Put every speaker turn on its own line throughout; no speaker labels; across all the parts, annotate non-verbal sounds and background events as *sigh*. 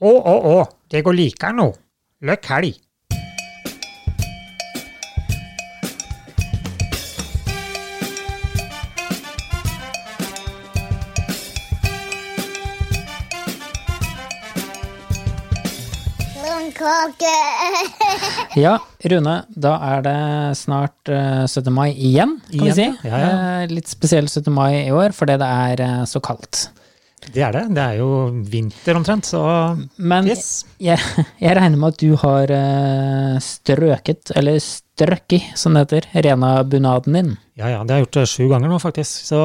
Å, å, å, det går like nå. Løkk helg.
Blomkåke.
Ja, Rune, da er det snart eh, 17. mai igjen, kan vi si.
Igjen, ja. Ja, ja.
Eh, Litt spesiell 17. mai i år, fordi det er eh, så kaldt.
Det er det. Det er jo vinter omtrent, så
Men
Yes.
jeg, *laughs* jeg regner med at du har eh, strøket, eller strøkki, som det heter, rena bunaden din.
Ja, ja. Det har jeg gjort eh, sju ganger nå, faktisk. Så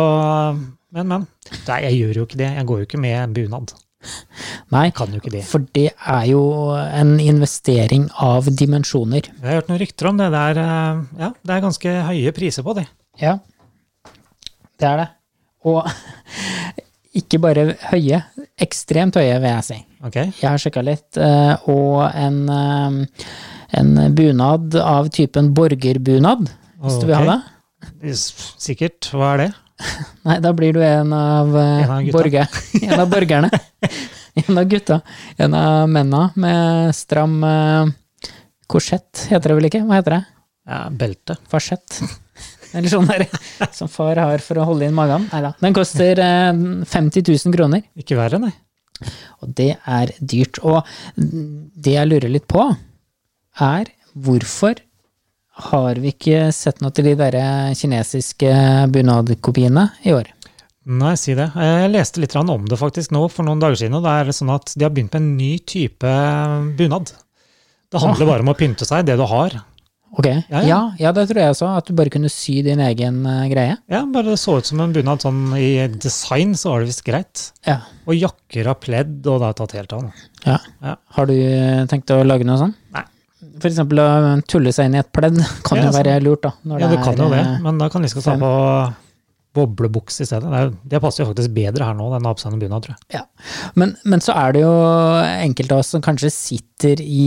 Men, men. Nei, jeg gjør jo ikke det. Jeg går jo ikke med bunad.
Nei,
Jeg kan jo ikke det.
for det er jo en investering av dimensjoner.
Jeg har hørt noen rykter om det. Det er, eh, ja, det er ganske høye priser på det.
Ja, det er det. Og *laughs* ikke bare høye, ekstremt høye, vil jeg si.
Ok?
Jeg har sjekka litt, eh, og en, eh, en bunad av typen borgerbunad, hvis du vil
Ok.
ha det.
S- Sikkert. Hva er det?
Nei, da blir du en av, eh,
En av gutta.
borge, *laughs* en av borgerne.
*laughs*
en av gutta. En av menna med stram eh, korsett, heter det vel ikke? Hva heter det?
Ja, belte.
Farsett. Eller sånn der, *laughs* som far har for å holde inn magen. Neida. Den koster eh, 50 000 kroner.
Ikke verre, nei.
Og det er dyrt. Og det jeg lurer litt på, er hvorfor har vi ikke sett noe til de der kinesiske bunadkopiene i år?
Nei, si det. Jeg leste litt grann om det faktisk nå for noen dager siden, og da er det sånn at de har begynt med en ny type bunad. Det handler bare om å pynte seg, det du har.
Ok,
Ja, ja.
ja, ja. det tror jeg også. At du bare kunne sy din egen eh, greie.
Ja, bare det så ut som en bunad sånn i design, så var det visst greit.
Ja.
Og jakker av pledd, og det har tatt helt av. nå.
ja.
Ja.
Har du eh, tenkt å lage noe sånt?
Nei.
For eksempel å tulle seg inn i et pledd *laughs* kan
Ja, sånn.
jo være lurt, da. når
Ja, du
er,
kan jo det,
eh,
men da kan vi skal ta
fem.
på boblebukse i stedet. Det, er, jo- det passer jo faktisk bedre her nå, den absende bunad, tror jeg.
Ja. Men, men så er det jo enkelte av oss som kanskje sitter i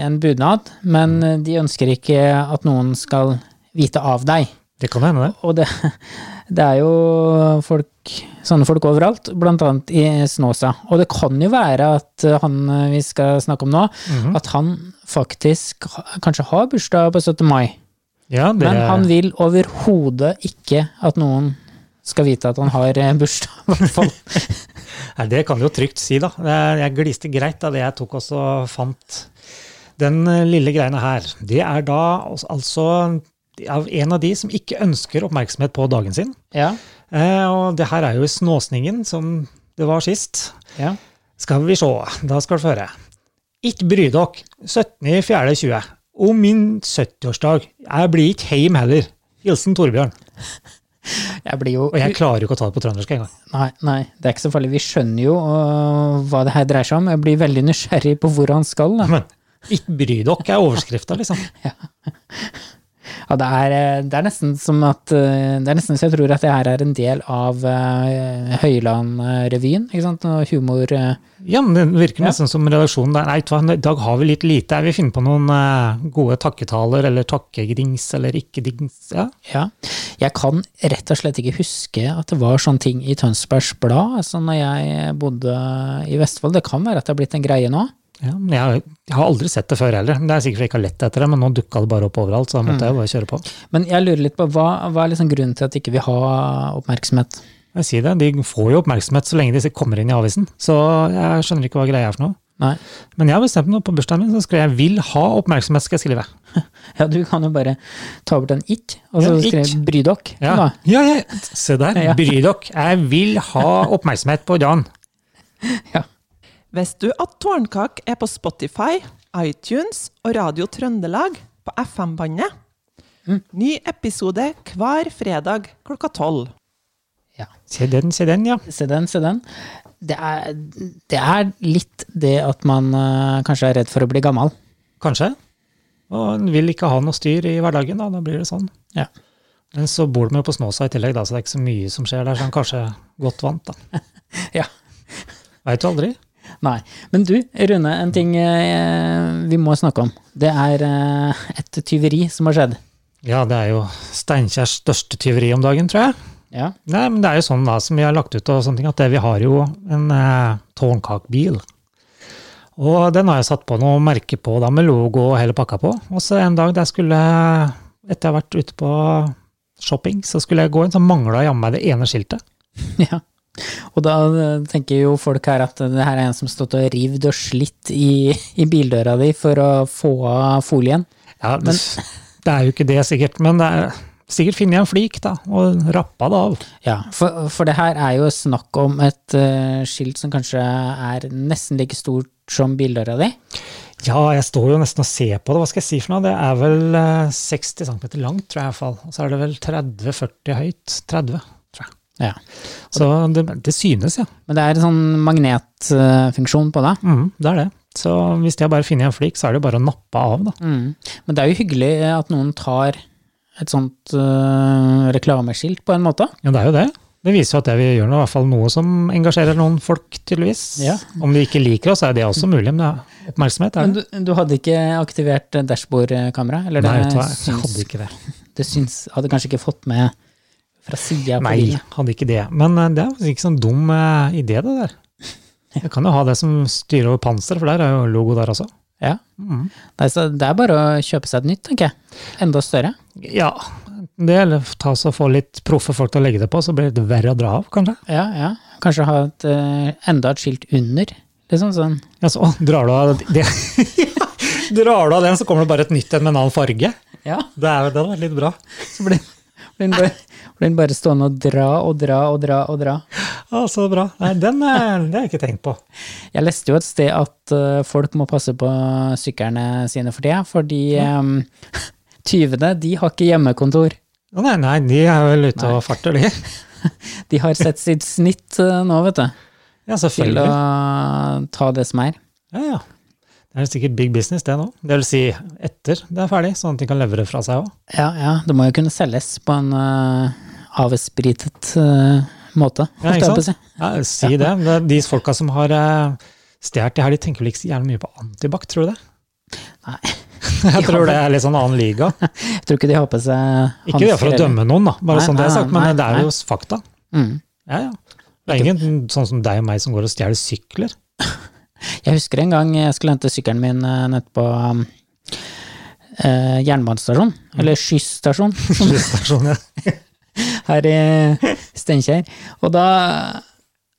en bunad, men de ønsker ikke at noen skal vite av deg.
Det kan hende, det.
Og det, det er jo folk, sånne folk overalt, blant annet i Snåsa. Og det kan jo være at han vi skal snakke om nå, at han faktisk ha- kanskje har bursdag på 17. mai,
Ja, det
men han vil overhodet ikke at noen skal vite at han har eh, bursdag, i hvert *laughs* fall.
Nei, det kan du jo trygt si, da. Jeg jeg gliste greit av det jeg tok også fant. Den eh, lille greiene her, det er da al- altså av en av de som ikke ønsker oppmerksomhet på dagen sin.
Ja,
Eh, og det her er jo i Snåsningen, som det var sist.
ja.
Skal vi sjå, da skal du få høre. Ikke bry dere, 17.4.20. Om min 70-årsdag. Jeg blir ikke heim heller. Hilsen Torbjørn.
Jeg blir jo
Og jeg klarer jo ikke å ta det på trøndersk engang.
Nei, nei, det er ikke så farlig. Vi skjønner jo øh, hva det her dreier seg om. Jeg blir veldig nysgjerrig på hvor han skal.
*laughs*
Da.
Men ikke bry dere er overskrifta, liksom.
Ja, det, er, øh, det er nesten som at øh, Det er nesten så jeg tror at det her er en del av øh, Høyland-revyen. ikke sant? Og humor øh.
Ja, men det virker nesten som redaksjonen der. Nei, vet du hva, i dag har vi litt lite. Vi finner på noen eh, gode takketaler, eller takkedings, eller ikke-dings. Ja.
Ja. Jeg kan rett og slett ikke huske at det var sånne ting i Tønsbergs Blad altså når jeg bodde i Vestfold. Det kan være at det har blitt en greie nå.
ja, men jeg, jeg har aldri sett det før heller. Det er sikkert fordi jeg ikke har lett etter det, men nå dukka det bare opp overalt, så da måtte jeg bare kjøre på.
Men jeg lurer litt på hva, hva er liksom grunnen til at ikke vi ikke har oppmerksomhet?
Jeg sier det, de får jo oppmerksomhet så lenge de kommer inn i avisen, så jeg skjønner ikke hva greia er for noe.
Nei.
Men jeg har bestemt meg på bursdagen min, så skrev jeg 'vil ha oppmerksomhet', skal jeg skrive.
*laughs* Ja, du kan jo bare ta bort en it, og så
Ja,
skrive
it.
bry dere.
Ja,
da.
ja, ja. se der.
Ja.
Bry dere. Jeg vil ha oppmerksomhet på dagen.
Visste du at Tårnkak er på Spotify, iTunes og Radio Trøndelag på FM-bandet? Ny episode hver fredag klokka tolv.
Ja.
Se den, se den, ja.
Se den, se den. Det er, det er litt det at man eh, kanskje er redd for å bli gammel.
Kanskje. Og en vil ikke ha noe styr i hverdagen, da. Da blir det sånn.
Ja.
Men så bor de jo på Snåsa i tillegg, da, så det er ikke så mye som skjer der, så han kanskje er godt vant, da.
ja.
Veit du aldri.
Nei. Men du, Rune, en ting eh, vi må snakke om. Det er eh, et tyveri som har skjedd.
Ja, det er jo Steinkjers største tyveri om dagen, tror jeg.
Ja.
Nei, men det er jo sånn da, som vi har lagt ut og sånne ting, at det, vi har jo en eh, tårnkakbil. Og den har jeg satt på noe merke på da, med logo og hele pakka på. Og så en dag da jeg skulle, etter jeg har vært ute på shopping, så skulle jeg gå inn, så mangla jammen meg det ene skiltet.
*laughs* Ja. Og da eh, tenker jo folk her at det her er en som stått og rivd og slitt i, i bildøra di for å få av folien.
Ja, det, det er jo ikke det sikkert, men det er, sikkert finner jeg en flik da, og rappa det av.
Ja, for, for det her er jo snakk om et eh, skilt som kanskje er nesten like stort som bildøra di.
Ja, jeg står jo nesten og ser på det. Hva skal jeg si for noe? Det er vel eh, 60 cm langt, tror jeg i hvert fall. Og så er det vel 30-40 høyt. 30, tror jeg.
Ja.
Så det, det synes, ja.
Men det er en sånn magnetfunksjon på det.
Mhm, det er det. Så hvis jeg bare finner en flik, så er det jo bare å nappe av, da.
Mm. Men det er jo hyggelig at noen tar et sånt eh, reklameskilt, på en måte.
Ja, det er jo det. Det viser jo at det vi gjør, nå, i hvert fall noe som engasjerer noen folk, tydeligvis.
Ja.
Om de ikke liker oss, er det også mulig, men det er oppmerksomhet er
Men
det.
du, du hadde ikke aktivert eh, dashbordkamera? Eller
Nei, vet du hva, jeg
syns,
hadde ikke det.
det syns, hadde kanskje ikke fått med fra sida på
Nei,
bilen?
hadde ikke det. Men eh, det er faktisk ikke sånn dum eh, idé, det der. Jeg kan jo ha det som styrer over panser, for der er jo logo der også.
Ja.
Mm.
Nei, så det er bare å kjøpe seg et nytt, tenker jeg. Enda større.
Ja, det gjelder ta oss og få litt proffe folk til å legge det på, så blir det verre å dra av, kanskje.
Ja, ja. Kanskje ha et, eh, enda et skilt under. Liksom sånn.
Ja, så å, drar du av *laughs* det. drar du av den, så kommer det bare et nytt en med en annen farge.
Ja.
Det er jo det, da, litt bra.
Så blir blir den bare, blir den bare stående og dra og dra og dra og dra.
Ja, så bra. Nei, den er, det har jeg ikke tenkt på.
Jeg leste jo et sted at eh, folk må passe på syklene sine for tida, fordi em, *laughs* tyvene de har ikke hjemmekontor.
Å, Nei, nei, de er vel ute og farter, de.
De har sett sitt snitt eh, nå, vet du,
Ja,
til å
selvfølgelig.
ta det som er.
Ja, ja. Det er sikkert big business, det nå. Det vil si etter det er ferdig, sånn at de kan levere fra seg òg.
Ja, ja, det må jo kunne selges på en eh, avspritet eh, måte.
Ja,
holdt jeg
ikke
på å
sant? Ja, si det. Det er De folka som har eh, stjålet det her, de tenker vel ikke så jævlig mye på antibac, tror du det?
Nei.
*laughs* Jeg tror det er litt sånn annen liga.
si. Jeg tror ikke de har på seg
Ikke det for å
hansker eller-
dømme noen, da, bare
Nei,
sånn det er
nei,
sagt, men
nei,
det er
nei.
jo fakta.
Mm.
Ja, ja. Det er ingen sånn som deg og meg som går og stjeler sykler.
Jeg husker en gang jeg skulle hente sykkelen min eh, nede på um, eh, jernbanestasjon, eller skysstasjon,
*laughs* Som skysstasjon, ja.
*laughs* her i Steinkjer. Og da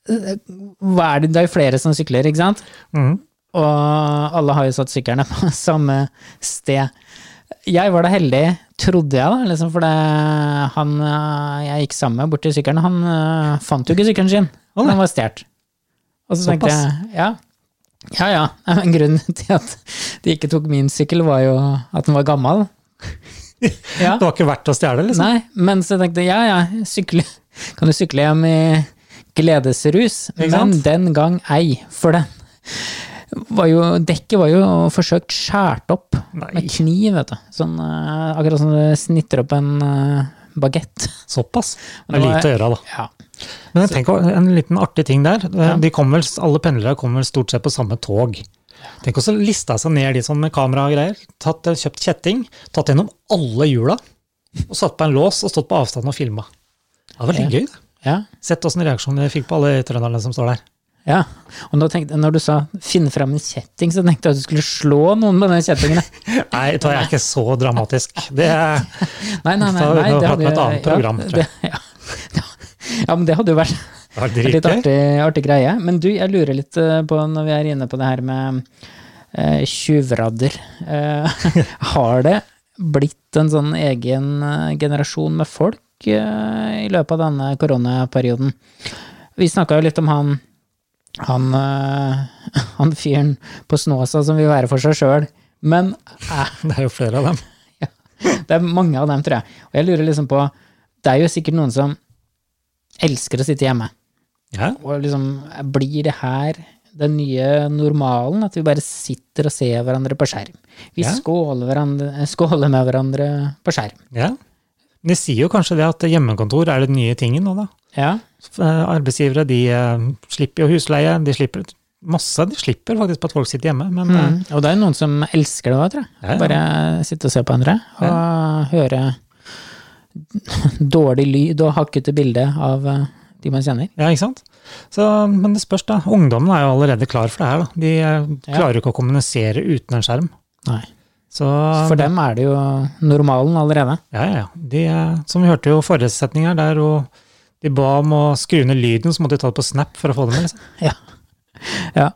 eh, hva er det, det er jo flere som sykler, ikke sant?
Mhm.
Og alle har jo satt syklene på *laughs* samme sted. Jeg var da heldig, trodde jeg, da, liksom, for det, han eh, jeg gikk sammen med bort til sykkelen, han eh, fant jo ikke sykkelen sin.
Å, nei.
Den var stjålet. Og så tenkte
Såpass.
jeg ja, ja, ja. *laughs* Nei, Men grunnen til at de ikke tok min sykkel, var jo at den var gammel. Ja.
Det var ikke verdt å stjele, liksom.
Nei, men så tenkte jeg, ja ja, sykle, *laughs* kan du sykle hjem i gledesrus,
Ikke
men
sant?
den gang ei, for den var jo, dekket var jo forsøkt skjært opp
Nei.
med kniv, vet du. Sånn, eh, akkurat som du snitter opp en eh, bagett. *laughs*
Såpass. Det
Men
er
det var-
lite å gjøre, da.
Ja.
Men jeg tenker også en liten artig ting der. Eh, De kom vel, alle pendlere kommer vel stort sett på samme tog. Tenk også lista seg ned de sånn med kamera og greier. Tatt, eh, kjøpt kjetting, tatt gjennom alle hjula, og satt på en lås og stått på avstand og filma. Det var litt gøy. det.
ja.
Sett åssen reaksjoner de fikk på alle trønderne som står der.
Ja, og nå tenkte, når du sa 'finn fram en kjetting', så tenkte jeg at du skulle slå noen med den kjettingen. *laughs*
Nei, jeg tror jeg er ikke så dramatisk. Det er,
Nei, nei, nei.
Da-
nei
da
det
prater
hadde
vi om et
jo-
annet program,
ja,
tror
det,
jeg.
*laughs* ja. ja, men det hadde jo vært
det var
Litt
dritgøy.
artig, artig greie. Men du, jeg lurer litt eh, på, når vi er inne på det her med eh, tjuvradder eh, *laughs* Har det blitt en sånn egen eh, generasjon med folk eh, i løpet av denne koronaperioden? Vi snakka jo litt om han han, eh, *laughs* han fyren på Snåsa som vil være for seg sjøl. Men eh,
Det er jo flere av dem.
det er mange av dem, tror jeg. Og jeg lurer liksom på Det er jo sikkert noen som elsker å sitte hjemme.
Ja.
Og liksom, blir det her den nye normalen, at vi bare sitter og ser hverandre på skjerm? Vi
Ja.
skåler, hverandre, eh, skåler med hverandre på skjerm.
ja. De sier jo kanskje det at hjemmekontor er den nye tingen nå, da.
Ja,
Eh, arbeidsgivere de eh, slipper jo husleie, de slipper masse. De slipper faktisk på at folk sitter hjemme, men eh,
mm. Og det er noen som elsker det òg, tror jeg.
Ja, ja.
Bare sitte og se på andre og høre *laughs* dårlig lyd og hakkete bilde av eh, de man kjenner.
ja, ikke sant? Så, men det spørs, da. Ungdommen er jo allerede klar for det her. da. De eh, klarer jo ikke å kommunisere uten en skjerm.
Nei.
Så,
For dem er det jo normalen allerede.
Ja, ja, ja. De, eh, som vi hørte jo forrige setning her, der jo de ba om å skru ned lyden, så måtte de ta det på snap for å få det med. Liksom.
Ja,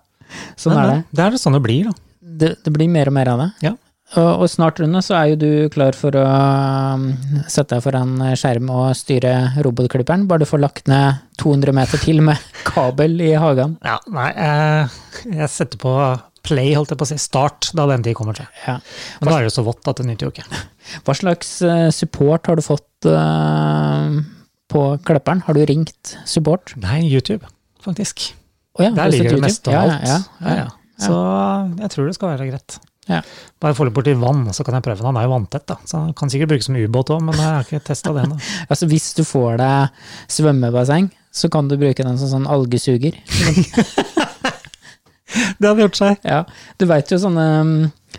sånn
Men,
er det.
men, det er det sånn det blir, da.
det. Det blir mer og mer av det.
Ja.
Og, og snart, Rune, så er jo du klar for å um, sette deg foran skjerm og styre robotklipperen, bare du får lagt ned 200 meter til med *laughs* kabel i hagen.
Ja, nei, eh, jeg setter på play, holdt jeg på å si. Start, da den tid kommer til.
Ja.
Men da er det jo så vått at det nytter jo ikke.
Hva slags eh, support har du fått eh, på klipperen? Har du ringt support?
Nei, YouTube, faktisk.
Å ja, har
Der
du
ligger
sett
det meste av
YouTube?
alt.
Ja, ja,
Ja, ja. Så jeg tror det skal være greit.
Ja.
Bare få litt borti vann, så kan jeg prøve den. Han er jo vanntett, da. Så han kan sikkert brukes som ubåt òg, men jeg har ikke testa det ennå.
ja. Altså, hvis du får deg svømmebasseng, så kan du bruke den som sånn algesuger.
*laughs* Det hadde gjort seg.
Ja, du veit jo sånne, um,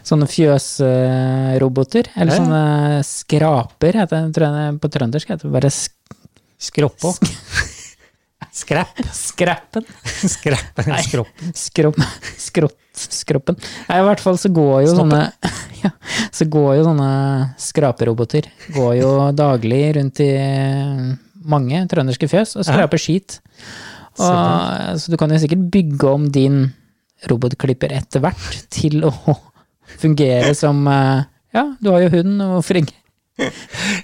sånne fjøsroboter, eller
Ja, ja.
sånne skraper, heter det tror jeg det- på trøndersk. heter det bare sk
*laughs* Skroppå. Skræpp. *laughs*
skræpen.
Skræpp. Skropp.
Skropp, skrott, skroppen. Nei, i hvert fall så går jo
Snoppen.
sånne *laughs* ja, Så går jo sånne skraperoboter går
*laughs*
jo daglig rundt i mange trønderske fjøs og skraper skit. Og, så du kan jo sikkert bygge om din robotklipper etter hvert til å *laughs* fungere som eh, Ja, du har jo hund, og hvorfor ikke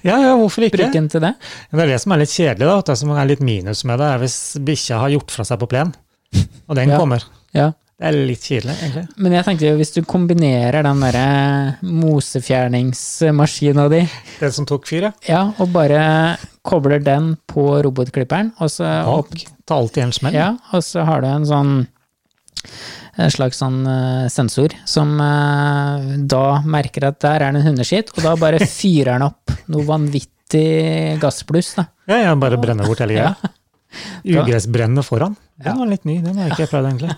Ja, ja, hvorfor ikke?
bruke den til det?
Men Det er det som er litt kjedelig, da, det som er litt minus med det, er hvis bikkja har gjort fra seg på plen, og den
Ja.
kommer.
Ja.
Det er litt kjedelig, egentlig.
Men jeg tenkte jo, hvis du kombinerer den derre mosefjerningsmaskina di
Den som tok fyr, ja.
Ja, og bare kobler den på robotklipperen, og så,
Bak. Ta alltid en smell.
ja, og så har du en sånn en slags sånn eh, sensor som eh, da merker at der er det en hundeskitt, og da
*laughs*
bare fyrer den opp noe vanvittig gassbluss. Da.
Ja, ja, bare brenne bort hele greia. Ugressbrennende foran. Den var litt ny, den har jeg ikke prøvd egentlig.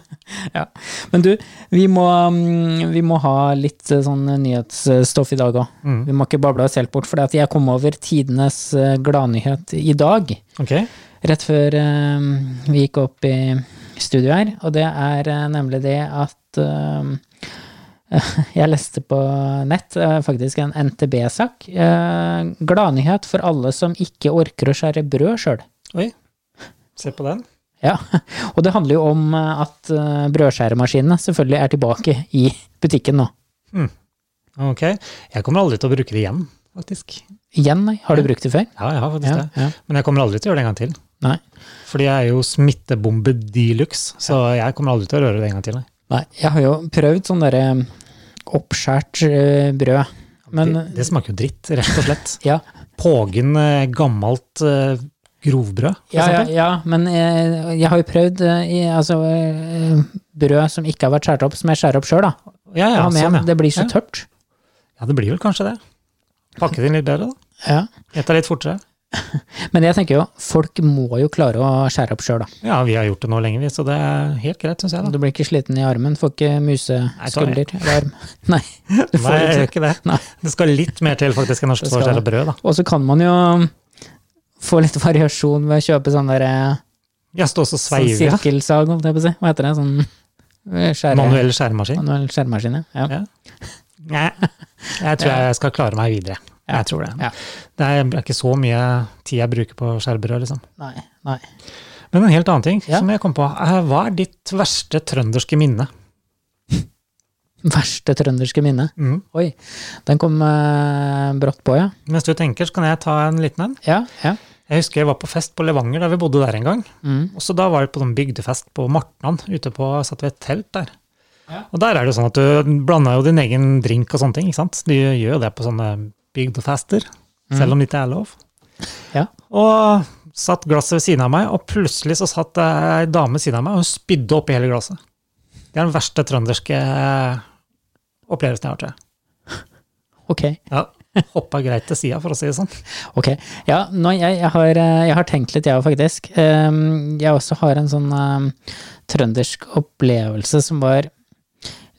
Ja. Men du, vi må, mm, vi må ha litt eh, sånn nyhetsstoff i dag òg.
Mm.
Vi må ikke bable oss helt bort, for jeg kom over tidenes eh, gladnyhet i dag.
Ok,
rett før eh, vi gikk opp i studio her, og det er eh, nemlig det at eh, *laughs* jeg leste på nett eh, faktisk en NTB-sak. Uh, Gladnyhet for alle som ikke orker å skjære brød sjøl.
oi. Se på den.
Ja, *laughs* og det handler jo om eh, at eh, brødskjæremaskinene selvfølgelig er tilbake i butikken nå.
Ok, jeg kommer aldri til å bruke det igjen, faktisk.
Igjen, nei. Har du brukt det før?
Ja, jeg har faktisk
Ja,
det.
ja.
Men jeg kommer aldri til å gjøre det en gang til.
Nei.
Fordi jeg er jo smittebombe de luxe, så jeg kommer aldri til å røre det en gang til. nei.
nei. Jeg har jo prøvd sånn derre eh, oppskjært eh, brød, men
det, det smaker jo dritt, rett og slett.
ja.
Pågen eh, gammelt eh, grovbrød, for
Ja, ja,
eksempel.
ja, men jeg, jeg har jo prøvd eh, i, altså, eh, brød som ikke har vært skåret opp, som jeg skjærer opp sjøl. da.
Ja, ja,
Jeg har med,
sånn, ja.
Det blir så
Ja.
tørt.
Ja, det blir vel kanskje det. Pakke det inn litt bedre, da.
Ja.
Gjett deg litt fortere.
Men jeg tenker jo, folk må jo klare å skjære opp sjøl, da.
Ja, vi har gjort det nå lenge, vi, så det er helt greit, syns jeg. da.
Du blir ikke sliten i armen, får ikke museskulder
Nei,
eller arm. *laughs* Nei, du
Nei,
får
jeg gjør
ikke.
ikke det.
Nei.
Det skal litt mer til faktisk enn norsk
Det skal
skjære brød, da.
Og så kan man jo få litt variasjon ved å kjøpe sånn der eh,
Ja, stå og
sånn
sveive. ja.
sirkelsag, holdt jeg på å si. Hva heter det? Sånn eh, skjære...
Manuell
*laughs*
skjæremaskin.
Manuell skjæremaskin, ja. ja.
Nei, jeg tror jeg skal klare meg videre.
Ja.
Jeg tror det.
Ja.
Det er ikke så mye tid jeg bruker på skjærebrød, liksom.
Nei, nei.
Men en helt annen ting
Ja.
som jeg kom på. Eh, Hva er ditt verste trønderske minne?
Verste trønderske minne.
Mm.
Oi, den kom eh, brått på, ja.
Mens du tenker, så kan jeg ta en liten en.
Ja, ja.
Jeg husker jeg var på fest på Levanger, da vi bodde der en gang.
Mm.
Og så da var det på sånn bygdefest på Martnan, ute på, satt ved et telt der.
Ja.
Og der er det jo sånn at du blander jo din egen drink og sånne ting, ikke sant? De gjør jo det på sånne bygdefester, selv om det ikke er lov.
Mm. Ja.
Og satt glasset ved siden av meg, og plutselig så satt det ei dame ved siden av meg, og hun spydde oppi hele glasset. Det er den verste trønderske opplevelsen jeg har, tror jeg.
Ok.
Ja, hoppa greit til sida, for å si det sånn.
ok. Ja, nå, jeg, jeg, har, eh, jeg har tenkt litt, jeg òg, faktisk. Ehm, jeg også har en sånn ehm, trøndersk opplevelse som var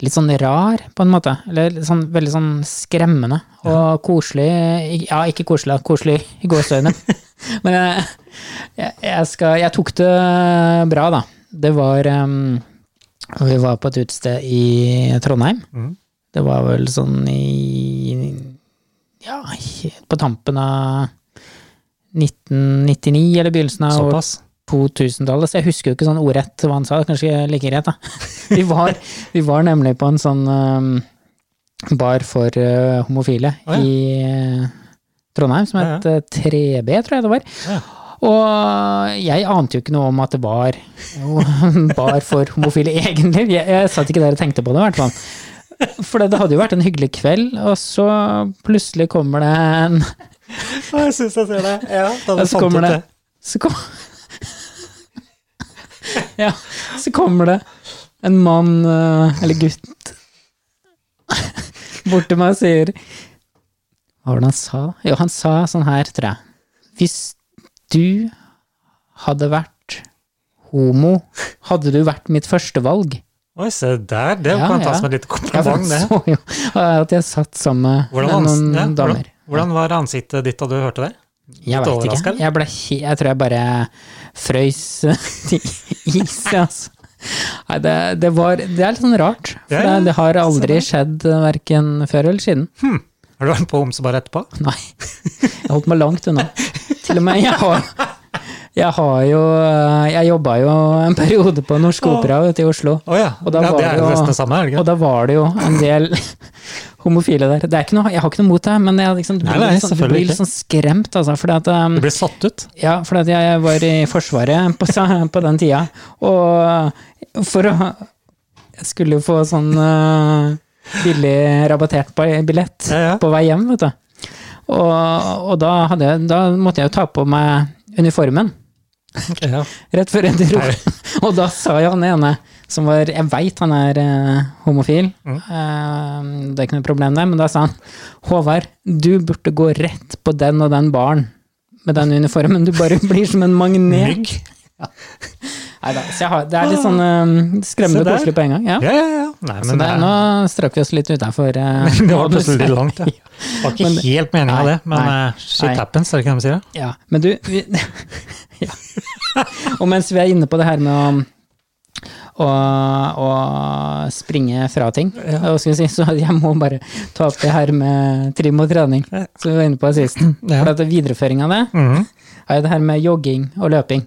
litt sånn rar, på en måte. Eller litt sånn, veldig sånn skremmende og koselig. Ik- Ja, ikke koselig, da. koselig i gåseøyne. Men jeg, jeg, jeg, skal, jeg tok det bra, da. Det var em, Vi var på et utested i Trondheim.
Mhm.
Det var vel sånn i Ja, helt på tampen av 1999, eller begynnelsen av år
Såpass.
2000-tallet, så jeg husker jo ikke sånn ordrett hva han sa, kanskje like greit, da. *laughs* Vi var, vi var nemlig på en sånn øhm, bar for øh, homofile
Å, ja.
i øh, Trondheim, som
Ja,
het øh, 3B, tror jeg det var.
Ja.
Og jeg ante jo ikke noe om at det var jo, en *laughs* bar for homofile, egentlig. Jeg, jeg satt ikke der og tenkte på det, i hvert fall. For det, det hadde jo vært en hyggelig kveld, og så plutselig kommer det en
Ja, jeg syns jeg ser det. Ja, da
ja,
hadde
så
fant ut
kommer det,
det.
Så kom, ja, så kommer det en mann, eh, eller gutt, bort til meg og sier Hva var det han sa? Jo, han sa sånn her, tror jeg. Hvis du hadde vært homo, hadde du vært mitt førstevalg?
Oi, se der. Det
Ja,
kan tas
ja.
med litt
Ja, for
kompliment,
han
det.
*laughs* så jo at jeg satt sammen med
Hvordan, ans
noen
ja, hvordan,
damer.
hvordan var ansiktet ditt da du hørte det?
Jeg
Litt
veit ikke.
overrasket, eller?
Jeg, ble, he- jeg tror jeg bare frøys *laughs* til is, altså. Nei, det, det, var, det er litt sånn rart. For
Ja, ja,
det, det har aldri skjedd verken før eller siden. *laughs*
Har du vært på homsebar etterpå?
Nei. Jeg holdt meg langt unna. Til og med jeg har, jeg har jo eh, Jeg jobba jo en periode på Norsk Opera vet du, i Oslo.
Å ja.
Og da
ja.
var
Det er
det
jo
jo-
nesten det samme, er det
Og
ikke?
da var det jo en del homofile der. Det er ikke noe, jeg har ikke noe mot det, men jeg liksom, du
Nei,
blir,
nei,
litt sånn, du
selvfølgelig
blir litt sånn skremt. Altså, fordi at, um,
Du ble satt ut?
Ja, for at jeg var i Forsvaret på, sa- på den tida. Og for å Jeg skulle jo få sånn eh, billig rabattert ba- billett
Ja, ja.
på vei hjem, vet du. Og, og da, hadde jeg, da måtte jeg jo ta på meg uniformen
Ja.
rett før jeg dro. *laughs* Og da sa jo han ene som var Jeg veit han er eh, homofil,
Mm.
eh, det er ikke noe problem der, men da sa han Håvard, du burde gå rett på den og den baren med den uniformen. Du bare *laughs* blir som en magnet.
Mygg?
Neida, så jeg har, det er litt sånn eh,
Se
skremmende
der.
koselig på en gang. Ja.
Ja, ja, ja. Nei,
så
men
det,
det,
nå strakk vi oss litt eh, utafor.
*laughs* det var plutselig litt langt,
*laughs*
ja. Det var ikke
Men-
helt meninga
Nei,
det, men
nei,
eh, shit
nei.
happens, er det ikke det de sier?
Ja, men du vi, *laughs* ja. Og mens vi er inne på det her med å, å, å springe fra ting, hva skal jeg si, så jeg må bare ta opp det her med trim og trening, som vi var inne på sist.
Ja.
For at videreføring av det
Mhm.
er jo det her med jogging og løping.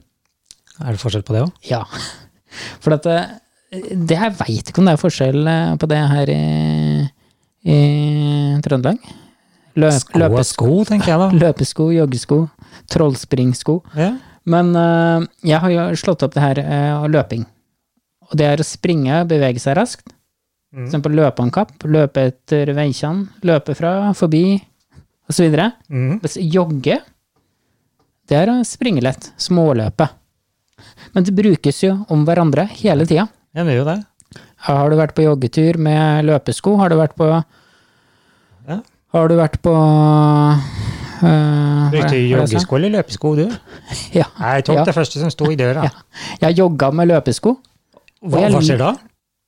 Er det forskjell på det òg?
Ja. For at det, det Jeg veit ikke om det er forskjell eh, på det her i, i Trøndelag. Løp,
Sko er
løpes,
sko, tenker jeg da.
løpesko, joggesko, trollspringsko.
Ja.
Men eh, jeg har jo slått opp det her eh, og løping. Og det er å springe, bevege seg raskt.
Mm.
For eksempel løpe om kapp, løpe etter veikjann, løpe fra, forbi, osv.
Mhm.
Mens jogge, det er å springe lett. Småløpe. Men det brukes jo om hverandre hele tida.
Ja, det er jo det.
Har du vært på joggetur med løpesko? Har du vært på
Ja.
Har du vært på øh,
Brukte
hva- hva er det jeg sa?
joggesko eller løpesko, du?
Ja.
Nei, jeg tok
Ja.
det første som sto i døra.
Ja. Jeg jogga med løpesko.
Hva, hva skjer da?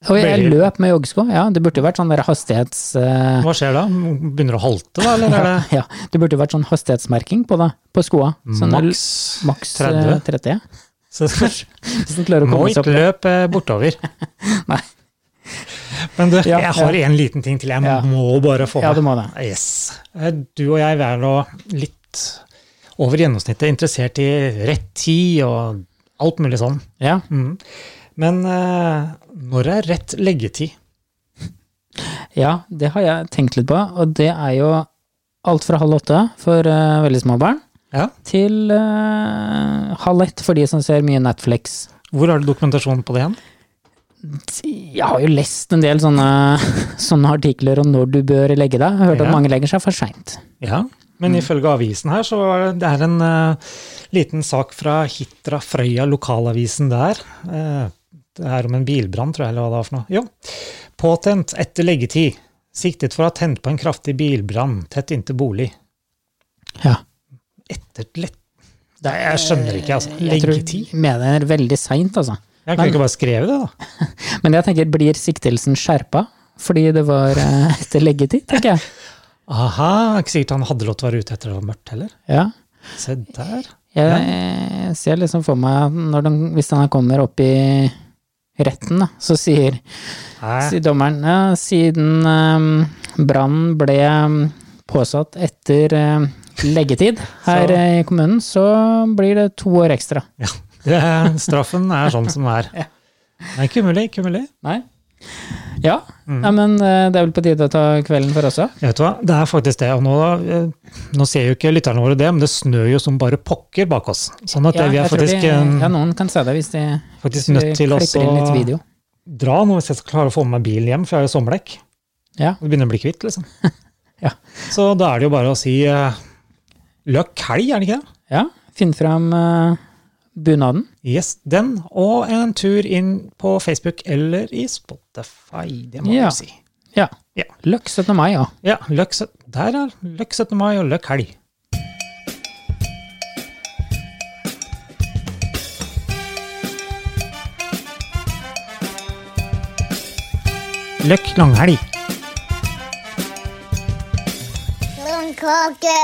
Og jeg
Veldig-
løp med joggesko, ja. Det burde jo vært sånn der hastighets... eh, *laughs*
Hva skjer da? Begynner du å halte, da? Eller er det
ja, det burde jo vært sånn hastighetsmerking på det, på skoa. *laughs* Sånn der-
maks
maks *laughs*
30?
30. 30 ja.
Så
Hvis den klarer å
må
komme seg
ikke
opp.
løpe bortover.
*laughs* Nei.
Men du,
Ja,
jeg har
ja.
en liten ting til jeg
Ja.
må bare få
Ja, du
med.
må det.
Yes. Eh, Du og jeg er nå litt over gjennomsnittet interessert i rett tid og alt mulig sånn.
Ja.
Mm. Men eh, når er rett leggetid?
ja, det har jeg tenkt litt på, og det er jo alt fra halv åtte for eh, veldig små barn,
Ja.
til eh, halv ett for de som ser mye Netflix.
Hvor har du dokumentasjon på det igjen?
Jeg har jo lest en del sånne, *laughs* sånne artikler om når du bør legge deg. Jeg har hørt
Ja.
at mange legger seg for seint.
Ja, men
Mm.
ifølge avisen her, så er det det er en eh, liten sak fra Hitra Frøya, lokalavisen der. Eh, det er om en bilbrann, tror jeg, eller hva det var for noe. Jo. Påtent etter leggetid. Siktet for å ha tent på en kraftig bilbrann tett inntil bolig.
Ja.
Etter lett... Nei, jeg skjønner ikke, altså. Leggetid?
Eh, Jeg tror mener veldig seint, altså.
Jeg kunne ikke bare skrevet det, da.
Men jeg tenker, blir siktelsen skjerpa? Fordi det var eh, etter leggetid, tenker jeg.
Aha, det er ikke sikkert han hadde lov til å være ute etter det var mørkt heller.
Ja.
Se der.
Jeg, jeg ser liksom for meg at når den, hvis den her kommer opp i retten, da, så sier,
Nei,
*laughs* sier dommeren ja, siden eh, brannen ble eh, påsatt etter eh, leggetid her
Så-
eh, i kommunen, så blir det to år ekstra.
ja. det, straffen er sånn som den er. Det er ikke umulig. ikke umulig.
Nei? Ja,
Mm.
Nei, men eh, det er vel på tide å ta kvelden for også.
Jeg vet hva, Det er faktisk det. og Nå, eh, nå ser jo ikke lytterne våre det, men det snør jo som bare pokker bak oss. Sånn at eh, vi er
jeg tror
faktisk,
de, ja,
eh,
noen kan se det hvis de,
faktisk
hvis de
nødt til å
klipper inn litt
også
video.
dra nå hvis jeg skal klare å få med meg bilen hjem, for jeg har jo sommerdekk.
Ja.
Og begynner å bli kvitt, liksom.
*laughs* Ja.
Så da er det jo bare å si eh, løk helg, er det ikke det?
ja, finn fram eh, bunaden.
Yes, den, og en tur inn på Facebook eller i Spotify, det må
Ja.
du si.
Ja.
Ja.
Løkk 17. mai, ja.
Ja, løk, sø- der er løk 17. mai og løk helg. Løk langhelg.
Blomkake!